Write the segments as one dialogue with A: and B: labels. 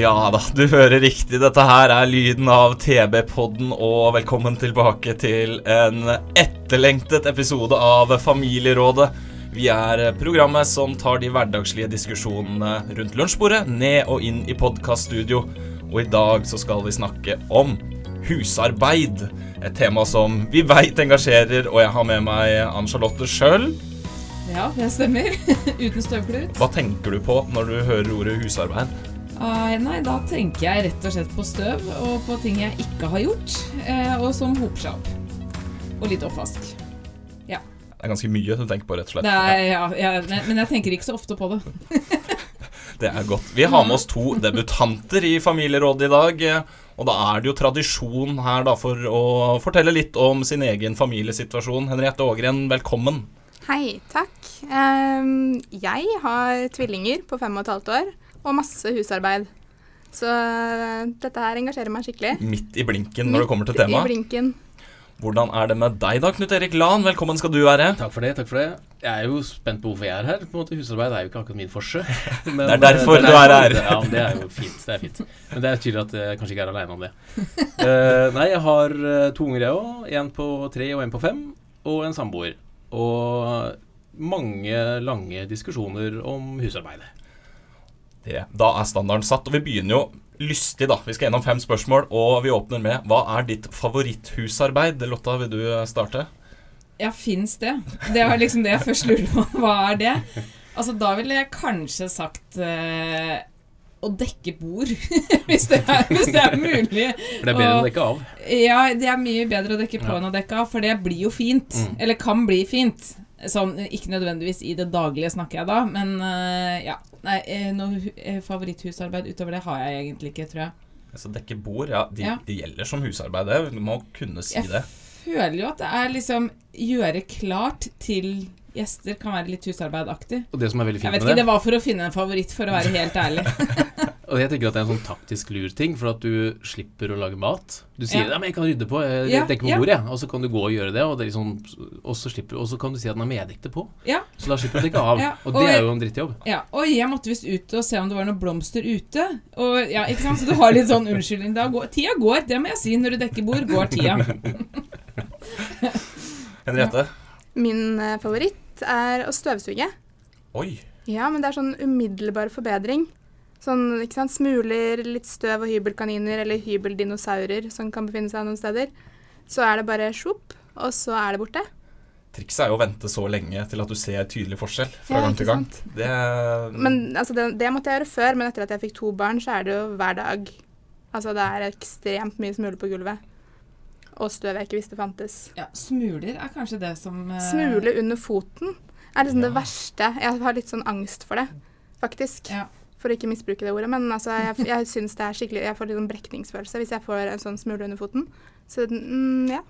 A: Ja da, du hører riktig. Dette her er lyden av TB-podden, og velkommen tilbake til en etterlengtet episode av Familierådet. Vi er programmet som tar de hverdagslige diskusjonene rundt lunsjbordet ned og inn i podkaststudio, og i dag så skal vi snakke om husarbeid. Et tema som vi veit engasjerer, og jeg har med meg Ann Charlotte sjøl.
B: Ja, det stemmer. Uten støvklut.
A: Hva tenker du på når du hører ordet husarbeid?
B: Ai, Eh, nei, da tenker jeg rett og slett på støv og på ting jeg ikke har gjort, eh, og som hoper seg opp. Og litt oppvask.
A: Det er ganske mye du tenker på, rett og slett.
B: Det er, ja, jeg, men men jeg tenker ikke så ofte på det.
A: Det er godt. Vi har med oss to debutanter i Familierådet i dag. eh, Og da er det jo tradisjon her da for å fortelle litt om sin egen familiesituasjon. Henriette Ågren, velkommen.
C: Hei, takk. Ehm, jeg har tvillinger på fem og et halvt år, og masse husarbeid. Så eh, dette her engasjerer meg skikkelig.
A: Midt i blinken når det kommer til
C: Midt I
A: temaet.
C: blinken.
A: Hvordan er det med deg da, Knut Erik Lan? Velkommen skal du være.
D: Takk for det. takk for det. Jeg er jo spent på hvorfor jeg er her. på en måte Husarbeid er jo ikke akkurat min forse. Men,
A: Det er derfor
D: eh, det
A: du er her.
D: Ja, men Det er jo fint. det er fint. Men det er tydelig at jeg kanskje ikke er aleine om det. Eh, nei, jeg har eh, to unger, jeg òg. En på tre og en på fem. Og en samboer. Og mange lange diskusjoner om husarbeidet.
A: Det. Da er standarden satt, og vi begynner jo lystig, da. Vi skal gjennom fem spørsmål, og vi åpner med Hva er ditt favoritthusarbeid? Lotta, vil du eh, starte?
B: Ja, fins det? Det var liksom det jeg først lurte på. Hva er det? Altså, da ville jeg kanskje sagt eh, å dekke bord, hvis det er, hvis det er mulig.
D: For det er bedre enn å dekke av.
B: Ja, det er mye bedre å dekke på enn å dekke av, for det blir jo fint.
D: Mm.
B: Eller kan bli fint. Sånn, ikke nødvendigvis i det daglige, snakker jeg da, men eh, ja. Nei, eh, noe hu- eh, favoritthusarbeid utover det har jeg egentlig ikke, tror jeg.
A: Altså dekke bord, ja. De,
B: Ja.
A: de gjelder som husarbeid, det. Du må kunne si
B: Jeg
A: det.
B: føler jo at det er liksom gjøre klart til gjester kan være litt husarbeidaktig.
D: Og det som er veldig
B: Jeg
D: fint
B: vet
D: med
B: ikke,
D: det,
B: det var for å finne en favoritt, for å være helt ærlig.
D: og jeg tenker at det er en sånn taktisk lur ting, for at du slipper å lage mat. Du sier
B: Ja.
D: ja. men jeg kan rydde på, jeg
B: Ja,
D: dekker på
B: ja.
D: bordet, jeg. Og så kan du gå og gjøre det, og, det er liksom, og, så, slipper, og så kan du si at den er meddekte på.
B: Ja,
D: Så da slipper du å dekke av.
B: Ja,
D: og
B: og
D: det er
B: jeg-
D: jo en drittjobb.
B: ja. Oi, jeg måtte visst ut og se om det var noen blomster ute. Og, ja, ikke sant? Så du har litt sånn unnskyldning. Da går, tida går, det må jeg si. Når du dekker bord, går tida.
A: Henriette?
C: Min eh, favoritt er å støvsuge.
A: Oi.
C: Ja, men det er sånn umiddelbar forbedring. Sånn, ikke sant, Smuler, litt støv og hybelkaniner eller hybeldinosaurer som kan befinne seg noen steder. Så er det bare sjopp, og så er det borte.
A: Trikset er jo å vente så lenge til at du ser tydelig forskjell fra
C: Ja,
A: gang
C: ikke
A: til gang.
C: sant?
A: Det, mm,
C: Men altså, det, det måtte jeg gjøre før, men etter at jeg fikk to barn, så er det jo hver dag. Altså, det er ekstremt mye smuler på gulvet. Og støv jeg ikke visste fantes.
B: Ja, smuler er kanskje det som eh,
C: Smule under foten er liksom det verste. Jeg har litt sånn angst for det, faktisk.
B: Ja.
C: For å ikke misbruke det ordet. Men altså, jeg, jeg synes det er skikkelig Jeg får litt sånn brekningsfølelse hvis jeg får en sånn smule under foten. Så mm, ja.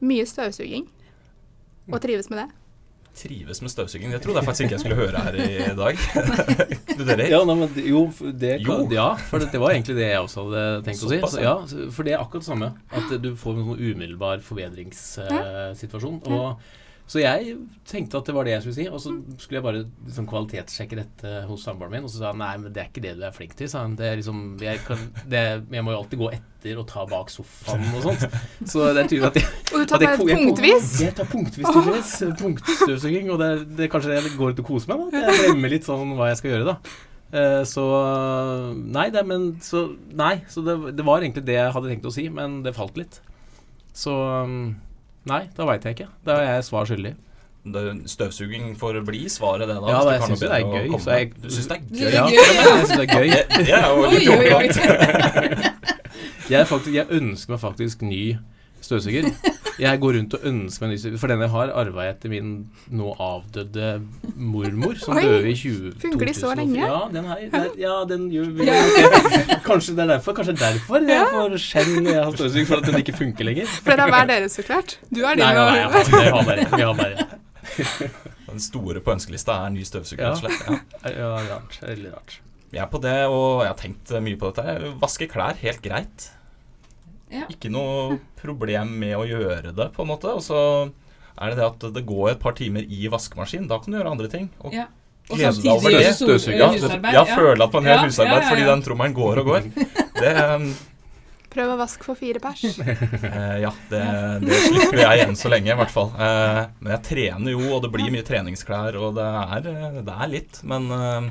C: Mye støvsuging. Og trives med det.
A: trives med støvsuging. Det trodde jeg faktisk ikke jeg skulle høre her i dag. Knut Erik?
D: Ja, nei, men det- jo, f- det kan,
A: Jo.
D: ja, for det, det var egentlig det jeg også hadde tenkt å si.
A: Såpass,
D: Så,
A: ja.
D: ja, så- for det er akkurat det samme. At eh, du får en sånn umiddelbar forbedringssituasjon. og så jeg tenkte at det var det jeg skulle si, og så skulle jeg bare liksom, kvalitetssjekke dette hos samboeren min. Og så sa han nei, men det er ikke det du er flink til, sa han. Det er liksom, jeg, kan, det, jeg må jo alltid gå etter og ta bak sofaen og sånt. Så det er tydelig at jeg
C: Og du tar
D: at jeg-
C: bare
D: jeg-
C: punktvis?
D: Jeg tar punktvis tydeligvis. Punktstøvsuging. Og det, er- det er kanskje det jeg går ut og koser meg med. At jeg glemmer litt sånn hva jeg skal gjøre, da. Eh, Så Nei, det, er- men, så, nei, så det, det var egentlig det jeg hadde tenkt å si, men det falt litt. Så um, Nei, da veit jeg ikke. Da er jeg svar skyldig.
A: Det- Støvsuging får bli svaret, det da.
D: Ja,
A: hvis
D: da, jeg
A: kan noe
D: syns jo
A: bedre
D: det er
A: å
D: gøy,
A: komme
D: så jeg-
A: med. Du syns det er
B: Det
A: gøy?
B: er
D: Ja,
B: gøy, ja.
D: jeg syns det er gøy.
A: Det, det er jo
B: Oi,
A: litt
B: oi, oi.
A: overlagt.
D: Jeg, er faktisk, jeg ønsker meg faktisk ny støvsuger. Jeg går rundt og ønsker meg en ny cykel, for den jeg har, arva jeg etter min nå avdøde mormor, som
C: Oi,
D: døde i 20,
C: funker de så
D: 2004.
C: lenge?
D: Ja, den, her, den, ja, den gjør vi. Kanskje det er derfor. Kanskje det er derfor jeg får skjenn når jeg har støvsugd, for at den ikke funker lenger.
C: For dere har hver deres, så klart. Du har din.
D: Nei, nei, nei, jeg
C: og-
D: har, vi har bare, vi har bare.
A: Den store på ønskelista er ny støvsuger.
D: Ja.
A: rett og slett, Ja.
D: Ja, rart. Veldig rart.
A: Jeg er på det, og jeg har tenkt eh, mye på dette. her. Vaske klær, helt greit.
B: Ja.
A: Ikke noe problem med å gjøre det, på en måte. Og så er det det at det går et par timer i vaskemaskin. Da kan du gjøre andre ting. Og
B: Ja. Og
A: glede deg over
B: samtidig
A: det.
B: gjøre sol-
D: Støvsuger,
A: Ja,
B: husarbeid,
A: ja, føle at man gjør
B: Ja,
A: husarbeid
B: ja, ja,
A: fordi
B: ja.
A: den trommelen går og går. Det, um,
C: Prøv å vaske for fire pers.
A: eh, ja, det, det slipper jeg enn så lenge, i hvert fall. Eh, men jeg trener jo, og det blir mye treningsklær, og det er, eh, det er litt. Men eh,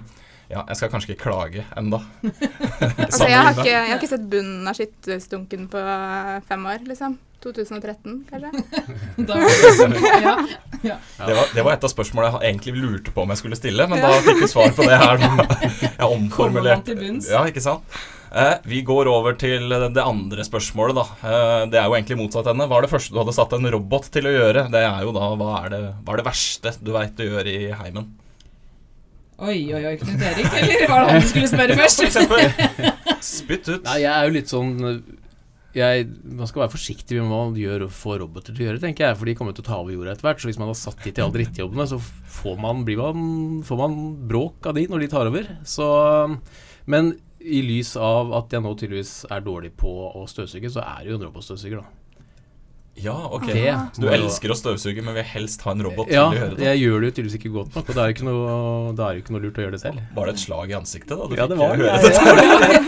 A: ja, jeg skal kanskje ikke klage ennå.
C: Altså, jeg, har ikke, jeg har ikke sett bunnen av skittestunken på fem år, liksom. 2013, kanskje.
B: Da, sånn, ja.
A: Det var, det var et av spørsmålene jeg egentlig lurte på om jeg skulle stille, men da fikk vi svar på det her. nå. Jeg
B: Kommer man
A: omformulerte.
B: til bunns?
A: Ja, ikke sant? Eh, vi går over til det andre spørsmålet, da. Eh, det er jo egentlig motsatt ende. Hva er det første du hadde satt en robot til å gjøre? Det er jo da hva er det, hva er det verste du veit du gjør i heimen?
B: Oi, oi, oi, Knut Erik, eller var det han du skulle spørre
A: For
B: først?
A: eksempel. Spytt ut.
D: Nei, jeg er jo litt sånn jeg, Man skal være forsiktig med hva man gjør og får roboter til å gjøre, tenker jeg. For de kommer til å ta over jorda etter hvert. Så hvis man har satt de til alle drittjobbene, så får man, blir man, får man bråk av de når de tar over. Så, men i lys av at jeg nå tydeligvis er dårlig på å støvsuge, så er det jo en robotstøvsuger, da.
A: Ja, ok.
D: Det
A: Så du
D: må jo-
A: elsker å støvsuge, men vil helst ha en robot
D: Ja,
A: til å gjøre det?
D: jeg gjør det jo tydeligvis ikke godt nok, og da er det ikke noe, da er det ikke noe lurt å gjøre det selv.
A: Var det et slag i ansiktet da du
D: Ja,
A: fikk
D: det var
A: høre
D: det.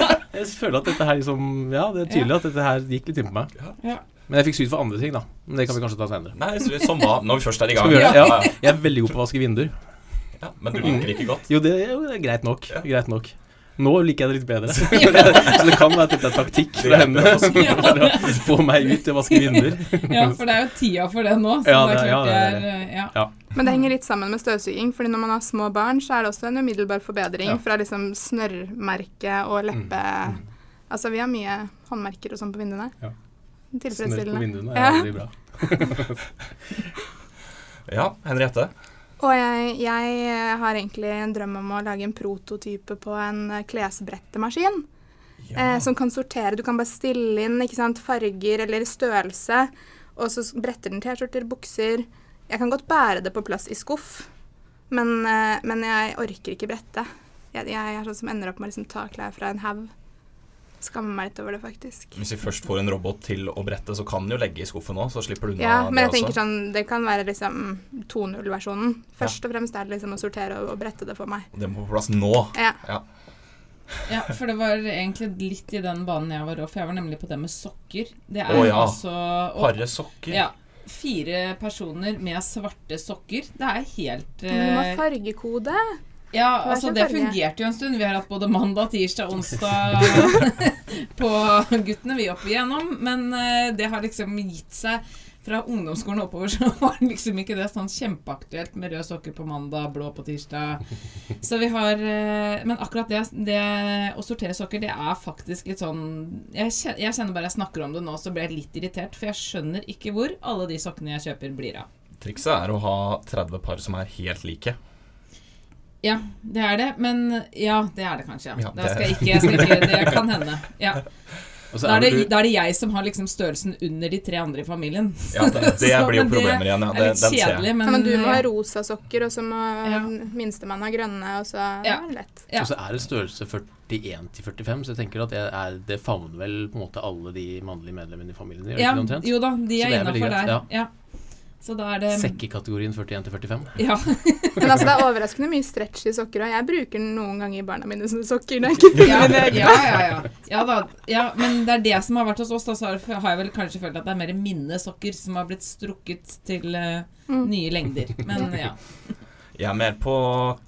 A: det?
D: Jeg, jeg føler at dette her liksom Ja, det er tydelig at dette her gikk litt inn på meg.
B: Ja.
D: Men jeg fikk syd for andre ting, da. Men det kan vi kanskje ta senere.
A: Nei, så- som hva? Når vi først er i
D: Skal
A: gang.
D: vi gjøre det?
A: Ja,
D: Ja. Jeg er veldig god på å vaske vinduer.
A: ja. Men du liker ikke godt?
D: Jo, det er, jo, det er greit nok. Greit nok. Nå liker jeg det litt bedre. Så det kan være at dette er taktikk fra henne. For å få meg ut til å vaske vinduer.
B: Ja, for det er jo tida for det nå, så
D: Ja,
B: det
D: det
B: er
D: er- ja,
B: klart det
D: det er
B: er eh, ja.
C: Men det henger litt sammen med støvsuging, fordi når man har små barn, så er det også en umiddelbar forbedring
D: Ja. Mm.
C: fra liksom snørrmerke og leppe... Altså, vi har mye håndmerker og sånn på vinduene.
D: Ja. Snørr på
C: Tilfredsstillende.
D: vinduene er aldri bra.
A: Ja, Henriette?
C: Og jeg, jeg har egentlig en drøm om å lage en prototype på en eh, klesbrettemaskin. Eh, som kan sortere. Du kan bare stille inn ikke sant, farger eller størrelse. Og så s- bretter den T-skjorter, bukser. Jeg kan godt bære det på plass i skuff, men, eh, men jeg orker ikke brette. Jeg, jeg er sånn som ender opp med å liksom ta klær fra en haug. Skammer meg litt over det, faktisk.
A: Hvis vi først får en robot til å brette, så kan den jo legge i skuffen òg, så slipper du unna
C: Ja, men jeg
A: det
C: tenker
A: også.
C: sånn, Det kan være liksom 2.0-versjonen. Først og fremst er det liksom å sortere og, og brette det for meg.
A: Det må på plass nå.
C: sånn- Ja.
B: Ja, for det var egentlig litt i den banen jeg var òg, for jeg var nemlig på det med sokker. Det er
A: Å, ja.
B: altså og-
A: Harde sokker.
B: ja, Fire personer med svarte sokker. Det er helt
C: Men du må ha
B: eh,
C: fargekode.
B: Ja,
C: Hva
B: altså
C: slags
B: det
C: farge?
B: fungerte jo en stund. Vi har hatt både mandag, tirsdag, onsdag på guttene vi opp igjennom. Men eh, det har liksom gitt seg fra ungdomsskolen oppover, så var det liksom ikke det sånn kjempeaktuelt med røde sokker på mandag, blå på tirsdag. Så vi har eh, Men akkurat det, det å sortere sokker, det er faktisk litt sånn jeg kjenner, jeg kjenner bare jeg snakker om det nå, så blir jeg litt irritert, for jeg skjønner ikke hvor alle de sokkene jeg kjøper, blir av.
A: Trikset er å ha 30 par som er helt like.
B: Ja, det er det. Men ja, det er det kanskje.
A: Ja,
B: Ja,
A: det-
B: Da skal jeg ikke, jeg skal ikke Det kan hende. Ja.
D: Og så
B: Da, er
D: er
B: det,
D: vel du
B: da er det jeg som har liksom størrelsen under de tre andre i familien.
A: Ja, det, det
B: Så,
A: blir jo
B: men
A: problemer igjen. Ja.
B: Det
A: Det,
B: er litt
A: den ser
B: kjedelig,
A: jeg.
B: men, eh,
C: Ja, men du må ha
B: ja.
C: rosa sokker, og så må
B: Ja.
C: minstemann ha grønne, og så
B: Ja.
C: er det lett.
B: ja.
D: og så er det størrelse 41 til 45, så jeg tenker at det, er, det favner vel på en måte alle de mannlige medlemmene i familien. Gjør det
B: ja,
D: ikke det omtrent?
B: Jo da, de
D: Så
B: er
D: det er veldig
B: innafor
D: greit,
B: der. Ja. Så da er det
D: Sekkekategorien 41 til 45.
B: Ja.
C: Men altså, det er overraskende mye stretch i sokker, og jeg bruker den noen ganger i barna mine som sokker. Når jeg ikke
B: Ja, ja,
C: finner mine egne.
B: ja, ja. ja da. Ja, men det er det som har vært hos oss. Da så har har jeg vel kanskje følt at det er mer minnesokker som har blitt strukket til eh,
C: Mm.
B: nye lengder. Men ja.
A: jeg er mer på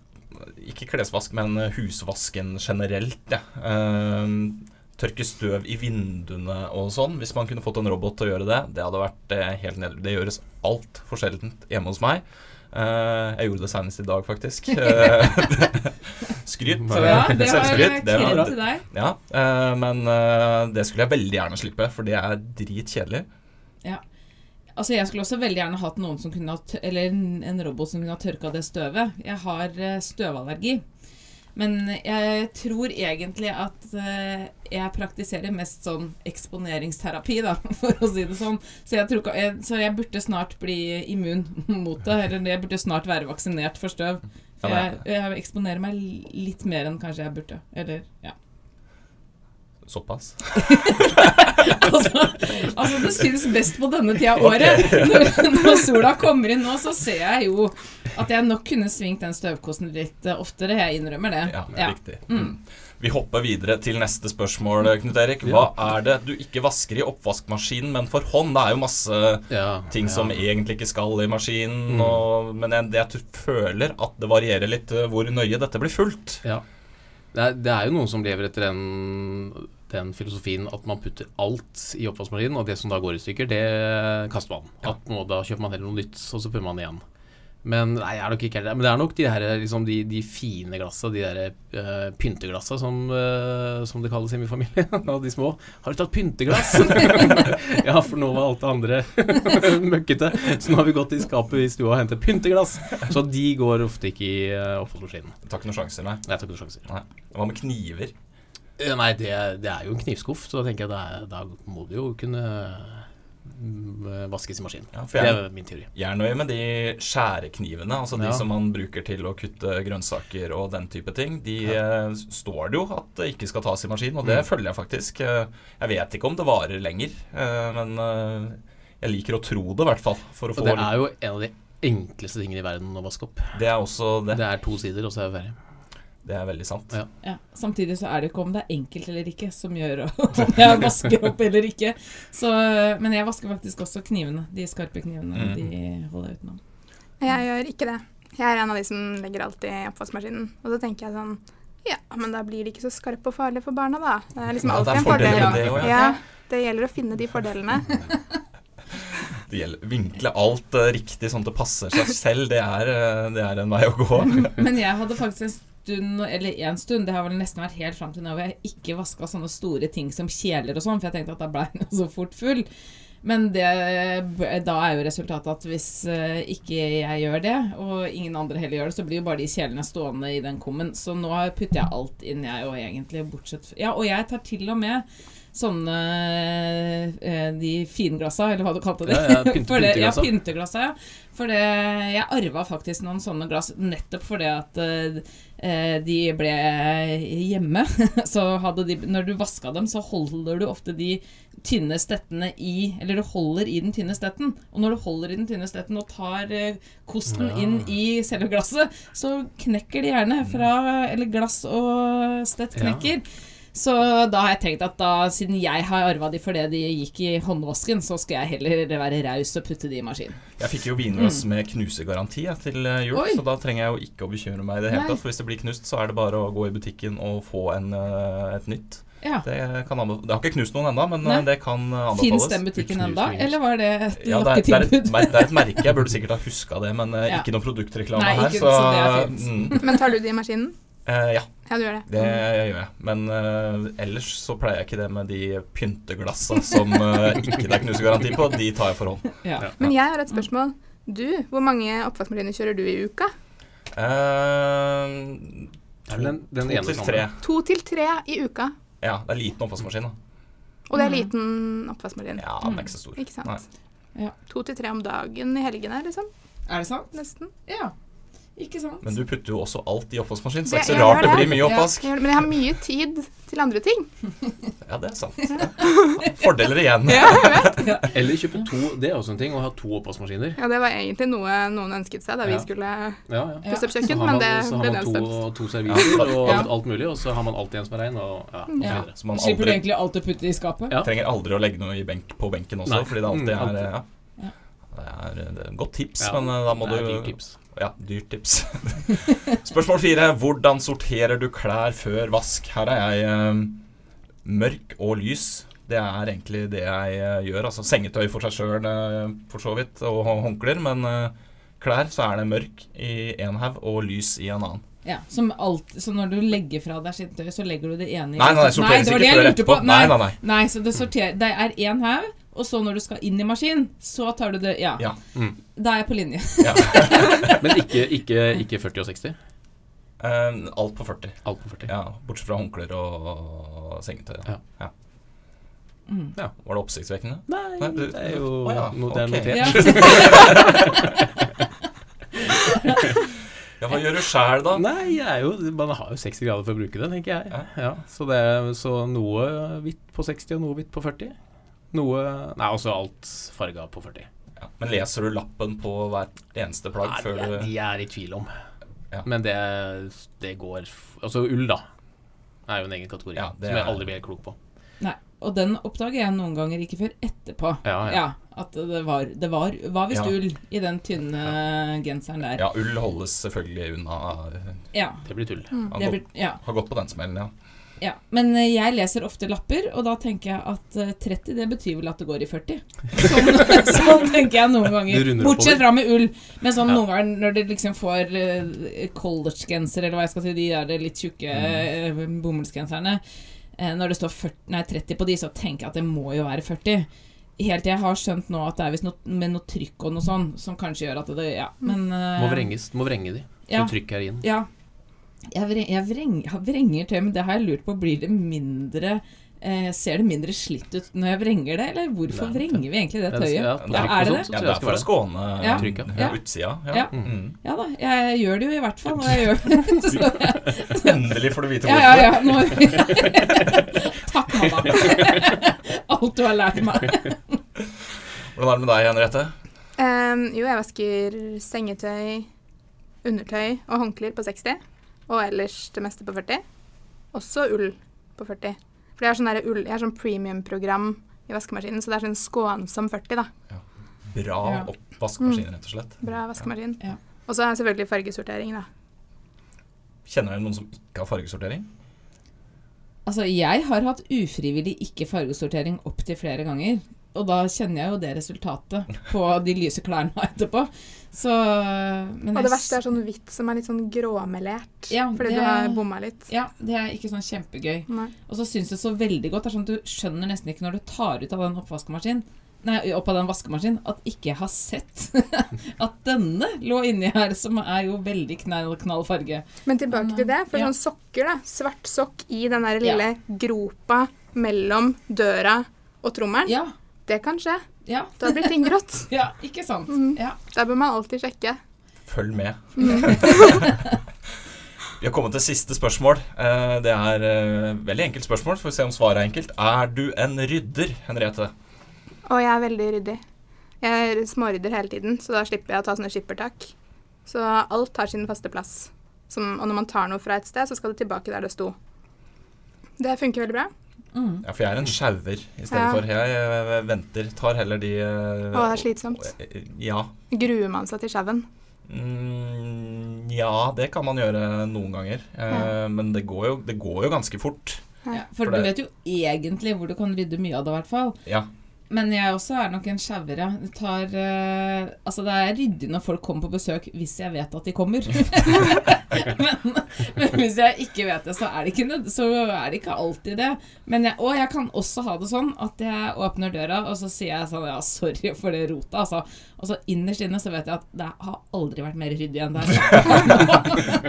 A: ikke klesvask, men husvasken generelt. Ja. Ehm, tørke støv i vinduene og sånn. Hvis man kunne fått en robot til å gjøre det, det hadde vært eh, helt ned. Det gjøres altfor sjeldent hjemme hos meg. Eh, jeg gjorde det senest i dag, faktisk. Eh, Skryt.
B: ja det var
A: Selvskryt. Det var
B: kred
A: bra.
B: til deg.
A: Ja, eh, men eh, det skulle jeg veldig gjerne slippe, for det er dritkjedelig.
B: Ja. Altså, jeg skulle også veldig gjerne hatt noen som kunne ha tø- Eller en en robot som kunne ha tørka det støvet. Jeg har eh, støvallergi. Men jeg tror egentlig at eh, jeg praktiserer mest sånn eksponeringsterapi, da, for å si det sånn. Så jeg, tror, ikke- jeg, så jeg burde snart bli immun mot det. Eller jeg burde snart være vaksinert for støv. For
A: Ja,
B: jeg, jeg eksponerer meg litt mer enn kanskje jeg burde. Eller, ja.
A: Såpass.
B: altså, altså, det syns best på denne tida av året. Når, når sola kommer inn nå, så ser jeg jo at jeg nok kunne svingt den støvkosten litt eh, oftere. Jeg innrømmer det.
A: Ja,
B: Ja.
A: riktig. Mm. Vi hopper videre til neste spørsmål, Knut Erik. Hva er det du ikke vasker i oppvaskmaskinen, men for hånd? Det er jo masse
D: Ja,
A: ting
D: ja. Mm.
A: som egentlig ikke skal i maskinen, og, men jeg, jeg tror- føler at det varierer litt eh, hvor nøye dette blir fulgt.
D: Ja. Det er, det er jo noen som lever etter den, den filosofien at man putter alt i oppvaskmaskinen, og det som da går i stykker, det kaster man. At nå, da kjøper man heller noe nytt, og så putter man det igjen. Men nei, jeg er nok ikke helt der. Men det er nok de, her, liksom, de, de fine glassa, de der eh, pynteglassa som, eh, som det kalles hjemme i familien, av de små. Har du tatt pynteglass? ja, for nå var alt det andre møkkete. Så nå har vi gått i skapet i stua og hentet pynteglass. Så de går ofte ikke i eh, oppvaskmaskinen.
A: Tar ikke noen sjanser, nei.
D: Jeg tar ikke noen sjanser.
A: nei. Hva med kniver?
D: Eh, Nei, det, det er jo en knivskuff, så da tenker jeg da, er- da må det jo kunne mm, vaskes i maskin.
A: Ja, for
D: det
A: jeg-
D: er min teori.
A: Jeg er nøye med de skjæreknivene, altså de
D: Ja.
A: som man bruker til å kutte grønnsaker og den type ting. De eh, s- står det jo at det ikke skal tas i maskin, og det
D: Mm.
A: følger jeg faktisk. Eh, Jeg vet ikke om det varer lenger, eh, men eh, jeg liker å tro det i hvert fall. For å
D: Og
A: få
D: det er jo en av de enkleste tingene i verden å vaske opp.
A: det er også det.
D: Det er to sider, og så er det ferdig.
A: Det er veldig sant.
D: Ja.
B: Ja. Samtidig så er det jo ikke om det er enkelt eller ikke som gjør om jeg vasker opp eller ikke. Så, eh, men jeg vasker faktisk også knivene. De skarpe knivene.
A: Mm.
B: De holder jeg utenom.
C: Jeg gjør ikke det. Jeg er en av de som legger alt i oppvaskmaskinen. Og så tenker jeg sånn Ja, men da blir de ikke så skarpe og farlige for barna, da. Det er liksom
A: Ja, det er
C: alltid en
A: fordeler med
C: fordel.
A: det også, ja.
C: ja. det gjelder å finne de fordelene.
A: Det gjelder vinkle alt eh, riktig sånn at det passer seg selv. Det er, eh, det er en vei å gå.
B: Men jeg hadde faktisk en stund, eller en stund, det har vel nesten vært helt fram til nå, hvor jeg ikke vaska sånne store ting som kjeler og sånn, for jeg tenkte at da ble jeg så fort full. Men det, da er jo resultatet at hvis eh, ikke jeg gjør det, og ingen andre heller gjør det, så blir jo bare de kjelene stående i den kummen. Så nå putter jeg alt inn, jeg og egentlig, bortsett f- Ja, og jeg tar til og med sånne eh, De finglassa, eller hva du kalte det.
D: Ja, ja, pynt-
B: For det- ja,
D: pynteglassa.
B: pynteglasset, ja. For det, jeg arva faktisk noen sånne glass nettopp fordi at eh, de ble hjemme. Så hadde de Når du vaska dem, så holder du ofte de tynne stettene i Eller du holder i den tynne stetten. Og når du holder i den tynne stetten og tar eh, kosten inn i selve glasset, så knekker de gjerne fra Eller glass og stett
D: Ja.
B: knekker. Så da har jeg tenkt at da, siden jeg har arva de fordi de gikk i håndvasken, så skal jeg heller være raus og putte de i maskinen.
A: Jeg fikk jo vinglass med knusegaranti jeg, til eh, jul,
B: Mm. Oi.
A: så da trenger jeg jo ikke å bekymre meg i det hele
B: Nei.
A: tatt. For hvis det blir knust, så er det bare å gå i butikken og få en, eh, et nytt.
B: Ja.
A: Det, kan anbe- det har ikke knust noen ennå, men eh,
B: Nei.
A: det kan eh,
B: Fins
A: anbefales.
B: den butikken
D: Knust,
B: enda,
D: knust.
B: eller var det et
A: Ja, det, er, det, er et,
B: lokketilbud?
A: mer- det er et merke. Jeg burde sikkert ha huska det, men eh,
B: Ja.
A: ikke noe produktreklame
B: Nei,
A: her.
B: ikke-
A: så,
B: så det er fint. Mm.
A: mm,
C: Men tar du de i maskinen?
A: eh, ja,
C: Ja, du gjør det.
A: det gjør jeg. Men eh, ellers så pleier jeg ikke det med de pynteglassa som eh, ikke det er knusegaranti på. De tar jeg for hånd.
B: ja.
C: Men jeg har et spørsmål. Du, hvor mange oppvaskmaskiner kjører du i uka?
A: Eh,
D: Det er vel den, den
A: to
D: ene
A: til
D: sånne.
A: tre.
C: To til tre i uka.
A: Ja, det er liten oppvaskmaskin. da
C: Og
D: Mm.
C: det er liten oppvaskmaskin.
A: Ja, den er ikke så stor.
C: Mm. Ikke sant?
A: Nei.
B: Ja.
C: To til tre om dagen i helgene, liksom.
B: Er det sant?
C: Nesten.
B: Ja. Ikke sant?
A: Men du putter jo også alt i oppvaskmaskin, så det er ikke
C: Jeg- jeg
A: så rart
C: gjør
A: det blir mye oppvask.
C: Jeg gjør det, men jeg har mye tid til andre ting.
A: Ja, det er sant. Fordeler igjen.
D: Eller kjøpe to, det er også en ting, å ha to oppvaskmaskiner.
C: Ja, det var egentlig noe noen ønsket seg da vi
D: Ja.
C: skulle
D: Ja, ja.
C: pusse opp
D: Så
C: kjøkken,
D: har
C: men
D: man,
C: det
D: så har
C: ble
D: man to,
C: nedstemt.
D: to serviser og
B: Ja.
D: alt mulig, og så har man alltid en som er rein, og ja, og så
B: Ja.
D: videre.
A: Så man
B: Slipper du
A: aldri,
B: egentlig alt å putte i skapet?
D: Ja.
A: trenger aldri å legge noe i benk, på benken også,
D: Nei.
A: fordi det alltid
D: Mm,
A: er
D: alltid.
A: ja. Det er eh, det er et godt tips,
D: Ja,
A: men eh, da må
D: det er
A: du
D: dyrt tips.
A: Ja, dyrt tips. Spørsmål fire. Hvordan sorterer du klær før vask? Her er jeg eh, mørk og lys. Det er egentlig det jeg eh, gjør. Altså sengetøy for seg sjøl, for så vidt, og hå- håndklær. Men eh, klær, så er det mørk i én haug og lys i en annen.
B: Ja, som alt, så når du legger fra deg skitt tøy, så legger du det ene
A: Nei,
B: i
A: nei, nei, sorteres
B: det
A: ikke
B: var det jeg
A: før
B: lurte på.
A: etterpå.
B: Nei,
A: Nei, nei, nei.
B: så det sorterer Det er én haug, Og så når du skal inn i maskin, så tar du det Ja.
A: Ja.
D: Mm.
B: Da er jeg på linje.
D: Ja. Men ikke, ikke, ikke 40 og 60?
A: Eh, alt på 40.
D: Alt på 40.
A: Ja, bortsett fra håndklær og, og sengetøy. da.
D: Ja.
A: Ja.
B: Mm.
A: Ja, Var det oppsiktsvekkende?
D: Nei,
A: du-
D: det er jo
A: Å ja,
D: no, det er
A: ok.
D: notert.
B: Ja.
A: Ja, Hva gjør du sjæl, da?
D: Nei, jeg er jo, man har jo 60 grader for å bruke det, tenker jeg. Ja, så, det, er- så noe hvitt på 60 og noe hvitt på 40. Noe Nei, også alt farga på 40.
A: Ja. Men leser du lappen på hvert eneste plagg
D: Nei,
A: før
D: de, er,
A: du
D: de er i tvil om.
A: Ja.
D: Men det, det går f- Altså ull, da. Er jo en egen kategori
A: Ja, det
D: som jeg
A: er-
D: aldri blir helt klok på.
B: Nei, og den oppdager jeg noen ganger ikke før etterpå.
D: Ja, ja.
B: At det var, det var Hva hvis
A: Ja.
B: ull i den tynne genseren der?
A: Ja, ull holdes selvfølgelig unna. eh,
B: Ja,
D: Det blir tull.
A: Har
B: det
A: gått,
B: blir, ja,
A: har gått på den smellen, ja.
B: ja. Men eh, jeg leser ofte lapper, og da tenker jeg at eh, 30 det betyr vel at det går i 40. Sånn, sånn tenker jeg noen
D: Du
B: ganger.
D: runder oppover.
B: Bortsett fra med ull. Men sånn
D: Ja.
B: noen ganger når du liksom får eh, collegegenser, eller hva jeg skal si, de der litt tjukke
D: Mm.
B: eh, bomullsgenserne eh, Når det står 40, nei, 30 på de, så tenker jeg at det må jo være 40. Helt til jeg har skjønt nå at det er visst noe med noe trykk og noe sånn, som kanskje gjør at det Ja, men eh,
D: Må vrenges. Må vrenge de. Så
B: Ja.
D: trykk her inn.
B: Ja. Jeg, vre, jeg vreng, jeg vrenger til, men det har jeg lurt på. Blir det mindre eh, Ser det mindre slitt ut når jeg vrenger det, eller hvorfor
D: Nei, det-
B: vrenger vi egentlig det
D: Ja, det skal-
B: tøyet?
D: ja,
B: Ja,
D: på
B: er
D: trykk og
B: det
D: sånt,
B: det?
D: så
A: ja
D: tror
A: det er
D: jeg skal
A: for å
D: være det.
A: skåne
B: Ja.
D: Trykket.
A: ja.
B: Ja.
A: utsida. Ja.
B: Ja.
A: Mm.
B: Ja da, jeg gjør det jo i hvert fall. Og jeg gjør det. Så, jeg-
A: Endelig får du vite
B: ja,
A: hvorfor.
B: ja, ja. Nå, takk, mamma. Alt du har lært meg.
A: Hvordan er det med deg, Henriette?
C: Ehm, jo, jeg vasker sengetøy, undertøy og håndklær på 60. Og ellers det meste på 40. Også ull på 40. For jeg har sånn, der ull- jeg har sånn premium-program i vaskemaskinen, så det er sånn skånsom 40, da.
A: Bra
B: Ja.
A: oppvaskmaskin, rett og slett.
C: Bra vaskemaskin.
B: Ja.
C: Og så er det selvfølgelig fargesortering, da.
A: Kjenner dere noen som ikke har fargesortering?
B: Altså, jeg har hatt ufrivillig ikke fargesortering opptil flere ganger. Og da kjenner jeg jo det resultatet på de lyse klærne etterpå. Så men
C: Og
B: jeg
C: det verste er sånn hvitt som er litt sånn gråmelert.
B: Ja,
C: fordi
B: det-
C: du har bomma litt.
B: Ja, det er ikke sånn kjempegøy.
C: Nei.
B: Og så syns jeg så veldig godt det er sånn at Du skjønner nesten ikke når du tar ut av den oppvaskemaskinen Nei, opp av den vaskemaskinen at ikke jeg har sett at denne lå inni her, som er jo veldig knall, knall farge.
C: Men tilbake til det. For
B: Ja.
C: sånn sokker, da. Svart sokk i den der lille gropa mellom døra og trommelen.
B: Ja.
C: Det kan skje.
B: Ja.
C: Da blir ting grått.
B: ja ikke sant? Ja.
C: Da bør man alltid sjekke.
A: Følg med. Vi har kommet til siste spørsmål. Eh, Det er eh, veldig enkelt spørsmål. Får vi se om svaret er enkelt. Er du en rydder, Henriette?
C: Og jeg er veldig ryddig. Jeg smårydder hele tiden, så da slipper jeg å ta sånne skippertak. Så alt har sin faste plass. Som, og når man tar noe fra et sted, så skal det tilbake der det sto. Det funker veldig bra.
A: Ja, for jeg er en sjauer i stedet
C: Ja.
A: for. Jeg eh, venter. Tar heller de eh,
C: Å, det er slitsomt.
A: Ja.
C: Gruer man seg til sjauen?
A: Mm, ja, det kan man gjøre noen ganger. Eh, Men det går, jo, det går jo ganske fort.
B: Ja. For,
A: For
B: du
A: det-
B: vet jo egentlig hvor du kan rydde mye av det, i hvert fall.
A: Ja.
B: Men jeg også er nok en sjauer, ja. Det Tar, eh, altså det er ryddig når folk kommer på besøk, hvis jeg vet at de kommer. men, men hvis jeg ikke vet det, så er det ikke, nød- så er det ikke alltid det. Men jeg, og jeg kan også ha det sånn at jeg åpner døra, og så sier jeg sånn Ja, sorry for det rotet, altså. Og så innerst inne så vet jeg at det har aldri vært mer ryddig enn det her.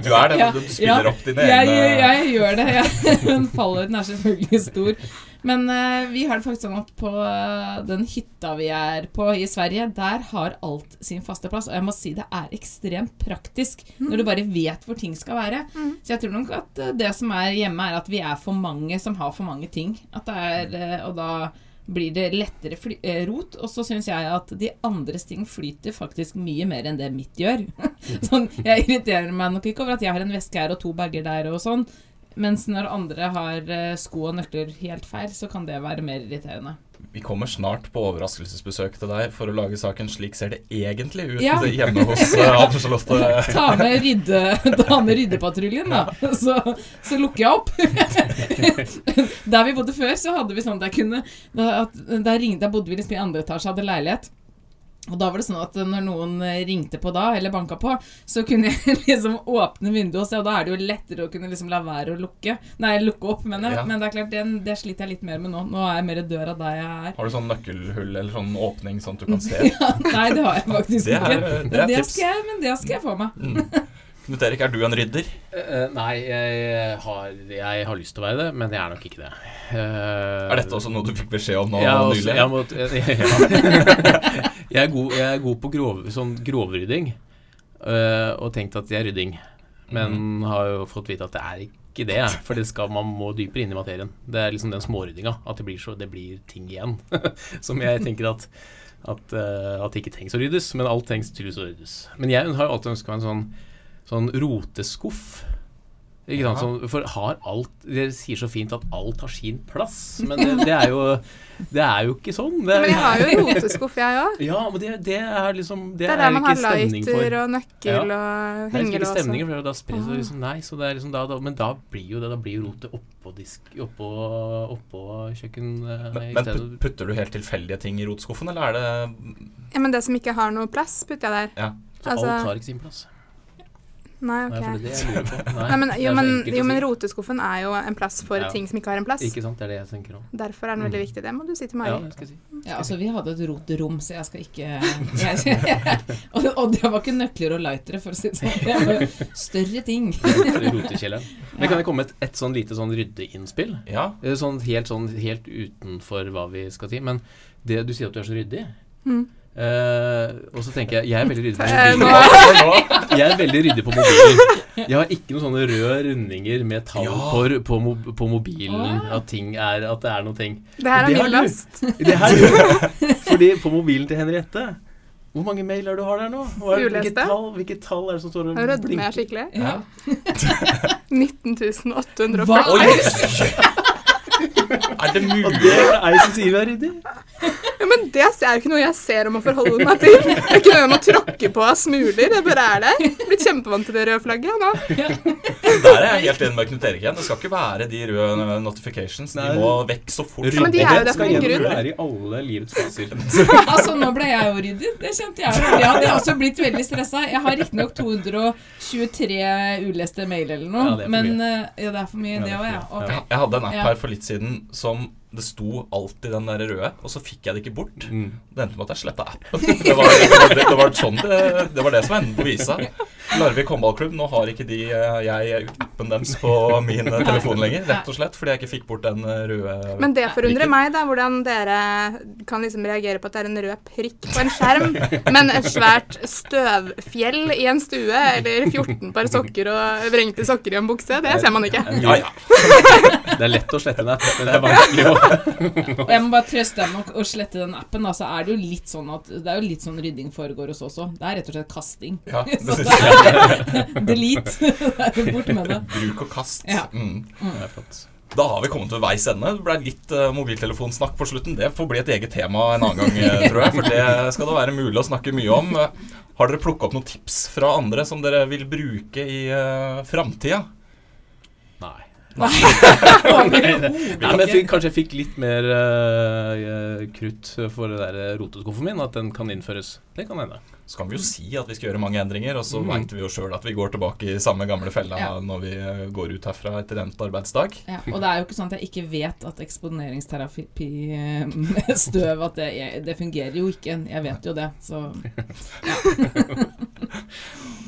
A: Du er det,
B: Ja,
A: du spiller
B: ja.
A: opp dine
B: jeg,
A: egne
B: Jeg, jeg gjør det. Jeg. Men fallhøyden er selvfølgelig stor. Men eh, vi har det faktisk sånn at på eh, den hytta vi er på i Sverige, der har alt sin faste plass. Og jeg må si det er ekstremt praktisk når du bare vet hvor ting skal være. Så jeg tror nok at eh, det som er hjemme, er at vi er for mange som har for mange ting. At det er, eh, og da blir det lettere fly eh, rot, og så syns jeg at de andres ting flyter faktisk mye mer enn det mitt gjør. sånn, jeg irriterer meg nok ikke over at jeg har en veske her og to bager der og sånn, mens når andre har eh, sko og nøkler helt feil, så kan det være mer irriterende.
A: Vi kommer snart på overraskelsesbesøk til deg for å lage saken 'Slik ser det egentlig ut'
B: Ja.
A: hjemme hos eh, Anne Charlotte.
B: Ta med, rydde, ta med ryddepatruljen, da, så, så lukker jeg opp. Der vi bodde før, så hadde vi sånn at jeg kunne da, at, der, ringte, der bodde vi liksom i andre etasje, hadde leilighet. Og da var det sånn at når noen eh, ringte på da, eller banka på, så kunne jeg liksom åpne vinduet og se, og da er det jo lettere å kunne liksom la være å lukke. Nei, lukke opp, mener jeg.
A: Ja.
B: Men det er klart, det, det sliter jeg litt mer med nå. Nå er jeg mer i døra der jeg er.
A: Har du sånn nøkkelhull eller sånn åpning sånn at du kan se?
B: Ja, nei, det har jeg faktisk
A: Det er-
B: ikke.
A: det er
B: Men det
A: tips.
B: skal jeg, men det skal jeg få meg.
A: Knut Erik, er du en rydder?
D: Eh, nei, jeg har, jeg har lyst til å være det, men jeg er nok ikke det. Eh,
A: Er dette også noe du fikk beskjed om nå
D: jeg, er også-
A: nylig?
D: jeg, må, ja. jeg, er god, jeg er god på grov, sånn grovrydding, eh, og tenkt at det er rydding. Men har jo fått vite at det er ikke det, for det skal, man må dypere inn i materien. Det er liksom den småryddinga, at det blir, så, det blir ting igjen. Som jeg tenker at, at, eh, at det ikke trengs å ryddes, men alt trengs tydeligvis å ryddes. Men jeg har jo alltid ønska meg en sånn, sånn roteskuff. Ikke sant? Sånn, for har alt Dere sier så fint at alt har sin plass, men det, det er jo det er jo ikke sånn. Det
C: Men jeg har jo roteskuff, jeg òg.
D: ja, men det, det er liksom Det,
C: Det er
D: er
C: der man
D: ikke
C: har
D: stemning for.
C: lighter og nøkkel og
D: det er liksom ikke
C: hengelås. og- sånn. Ah.
D: stemninger, for da spres det liksom Nei, så det er liksom da, da Men da blir jo det Da blir jo rotet oppå disk Oppå, oppå kjøkken eh,
A: Men,
D: i
A: men
D: stedet.
A: put- putter du helt tilfeldige ting i rotskuffen, eller er det
C: Ja, men det som ikke har noe plass, putter jeg der.
A: Ja.
D: Så
C: altså-
D: alt har ikke sin plass.
C: Nei,
D: Nei, for
C: ok.
D: det er det jeg lurer på.
C: Nei, men,
D: det er
C: jo,
D: så
C: men,
D: enkelt å
C: jo, men
D: si.
C: roteskuffen er jo en plass for
D: Ja.
C: ting som ikke har en plass.
D: Ikke sant, det er det jeg tenker om.
C: Derfor er den veldig viktig. Det må du si til meg.
D: Ja, det skal jeg si.
B: Ja, altså Vi hadde et rotrom, så jeg skal ikke jeg, og, og det var ikke nøkler og lightere, for å si det sånn. Det var jo større ting.
D: Rotekjelleren. Men kan det komme et, et sånn lite sånn ryddeinnspill?
A: Ja.
D: Eh, Sånn helt, sånn helt utenfor hva vi skal si. Men det, du sier at du er så ryddig. Eh, og så tenker jeg Jeg er veldig ryddig på mobilen. Jeg er veldig ryddig på mobilen. Jeg har ikke noen sånne røde rundinger med tall på, på, mo- på mobilen. At, ting er, at det er noen ting.
C: Det her er
D: Det har
C: min
D: du.
C: last.
D: Det her gjør jeg. Fordi på mobilen til Henriette Hvor mange mailer du har der nå? Hva er- Hvilket
C: Uleste.
D: tall, hvilket tall er det som står og
C: Nå rødmer jeg
D: blinker?
C: skikkelig.
B: Ja.
C: 19.840.
A: Oi! er det
D: Og
A: mulig?
D: det er det ei som sier vi er ryddig.
C: Ja, men det er jo ikke noe jeg ser om å forholde meg til. Det er ikke noe jeg må tråkke på av smuler. Det bare er der. Jeg er Blitt kjempevant til det røde flagget nå.
A: Der er jeg helt enig med Knut Erik igjen. Det skal ikke være de røde notifications.
D: Nei.
A: De må vekk så fort.
C: men de er jo der for
D: skal
C: en
D: gjennom-
C: grunn.
D: være i alle livets faser.
B: Altså, Nå ble jeg jo ryddig. Det kjente jeg. jo. Jeg hadde også blitt veldig stressa. Jeg har riktignok 223 uleste mail eller noe,
D: Ja, det er for
B: men eh, ja, det er for mye, det
D: er
B: òg, ja.
D: for mye.
B: Ok.
A: Ja, Jeg hadde en app
B: Ja.
A: her for litt siden som det sto alltid den der røde, og så fikk jeg det ikke bort.
D: Mm.
A: Det endte med at jeg sletta appen. Det var det, var, det, var sånn det, det var det som endte på visa. Larvik håndballklubb, nå har ikke de eh, jeg appen deres på min eh, telefon lenger. Rett og slett fordi jeg ikke fikk bort den eh, røde
C: Men det forundrer meg, da, hvordan dere kan liksom reagere på at det er en rød prikk på en skjerm, men et svært støvfjell i en stue, eller 14 par sokker og vrengte sokker i en bukse. Det ser man ikke.
A: Ja, ja.
D: Det er lett å slette en app, men det er vanskelig å
B: Og Jeg må bare trøste deg med å- å slette den appen. Da, så er det, jo litt sånn at, det er jo litt sånn rydding foregår hos oss også. Det er rett og slett kasting.
A: Ja, det
B: Så
A: synes
B: det er- Delete. Det er Bort med det.
A: Bruk og kast.
B: Ja.
A: Mm.
D: Det er flott.
A: Da har vi kommet ved veis ende. Det ble litt eh, mobiltelefonsnakk på slutten. Det får bli et eget tema en annen gang, eh, tror jeg. For det skal det være mulig å snakke mye om. Eh, Har dere plukka opp noen tips fra andre som dere vil bruke i uh, framtida?
D: Nei.
B: Overhodet.
D: Nei, men jeg fikk, kanskje jeg fikk litt mer eh, eh, krutt for det der eh, roteskuffen min, at den kan innføres. Det kan hende.
A: Så kan vi jo si at vi skal gjøre mange endringer, og så vet veit vi jo sjøl at vi går tilbake i samme gamle fella
B: Ja.
A: når vi eh, går ut herfra etter endt arbeidsdag.
B: Ja, og det er jo ikke sånn at jeg ikke vet at eksponeringsterapi eh, med støv at det, jeg- det fungerer jo ikke. Jeg vet jo det, så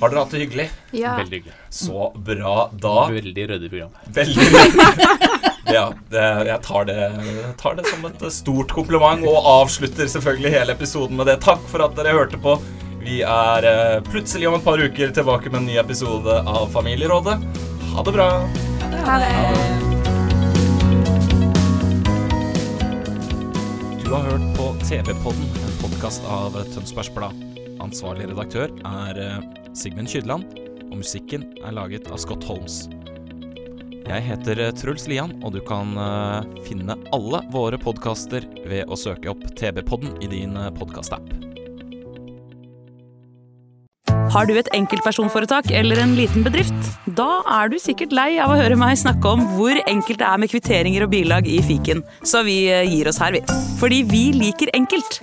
A: Har dere hatt det hyggelig?
C: Ja.
D: Veldig hyggelig.
A: Så bra. Da
D: Veldig ryddig program.
A: Veldig Ja, det, jeg tar det, jeg tar det som et stort kompliment og avslutter selvfølgelig hele episoden med det. Takk for at dere hørte på. Vi er eh, plutselig om et par uker tilbake med en ny episode av Familierådet. Ha det bra.
C: Ha det.
A: Du har hørt på TV-podden, en podkast av Tønsbergs Blad. Ansvarlig redaktør er eh, Sigmund Kydland, og musikken er laget av Scott Holmes. Jeg heter eh, Truls Lian, og du kan eh, finne alle våre podkaster ved å søke opp TV-podden i din eh, podkastapp.
E: Har du et enkeltpersonforetak eller en liten bedrift? Da er du sikkert lei av å høre meg snakke om hvor enkelt det er eh, med kvitteringer og bilag i fiken, så vi gir oss her, vi. Fordi vi liker enkelt.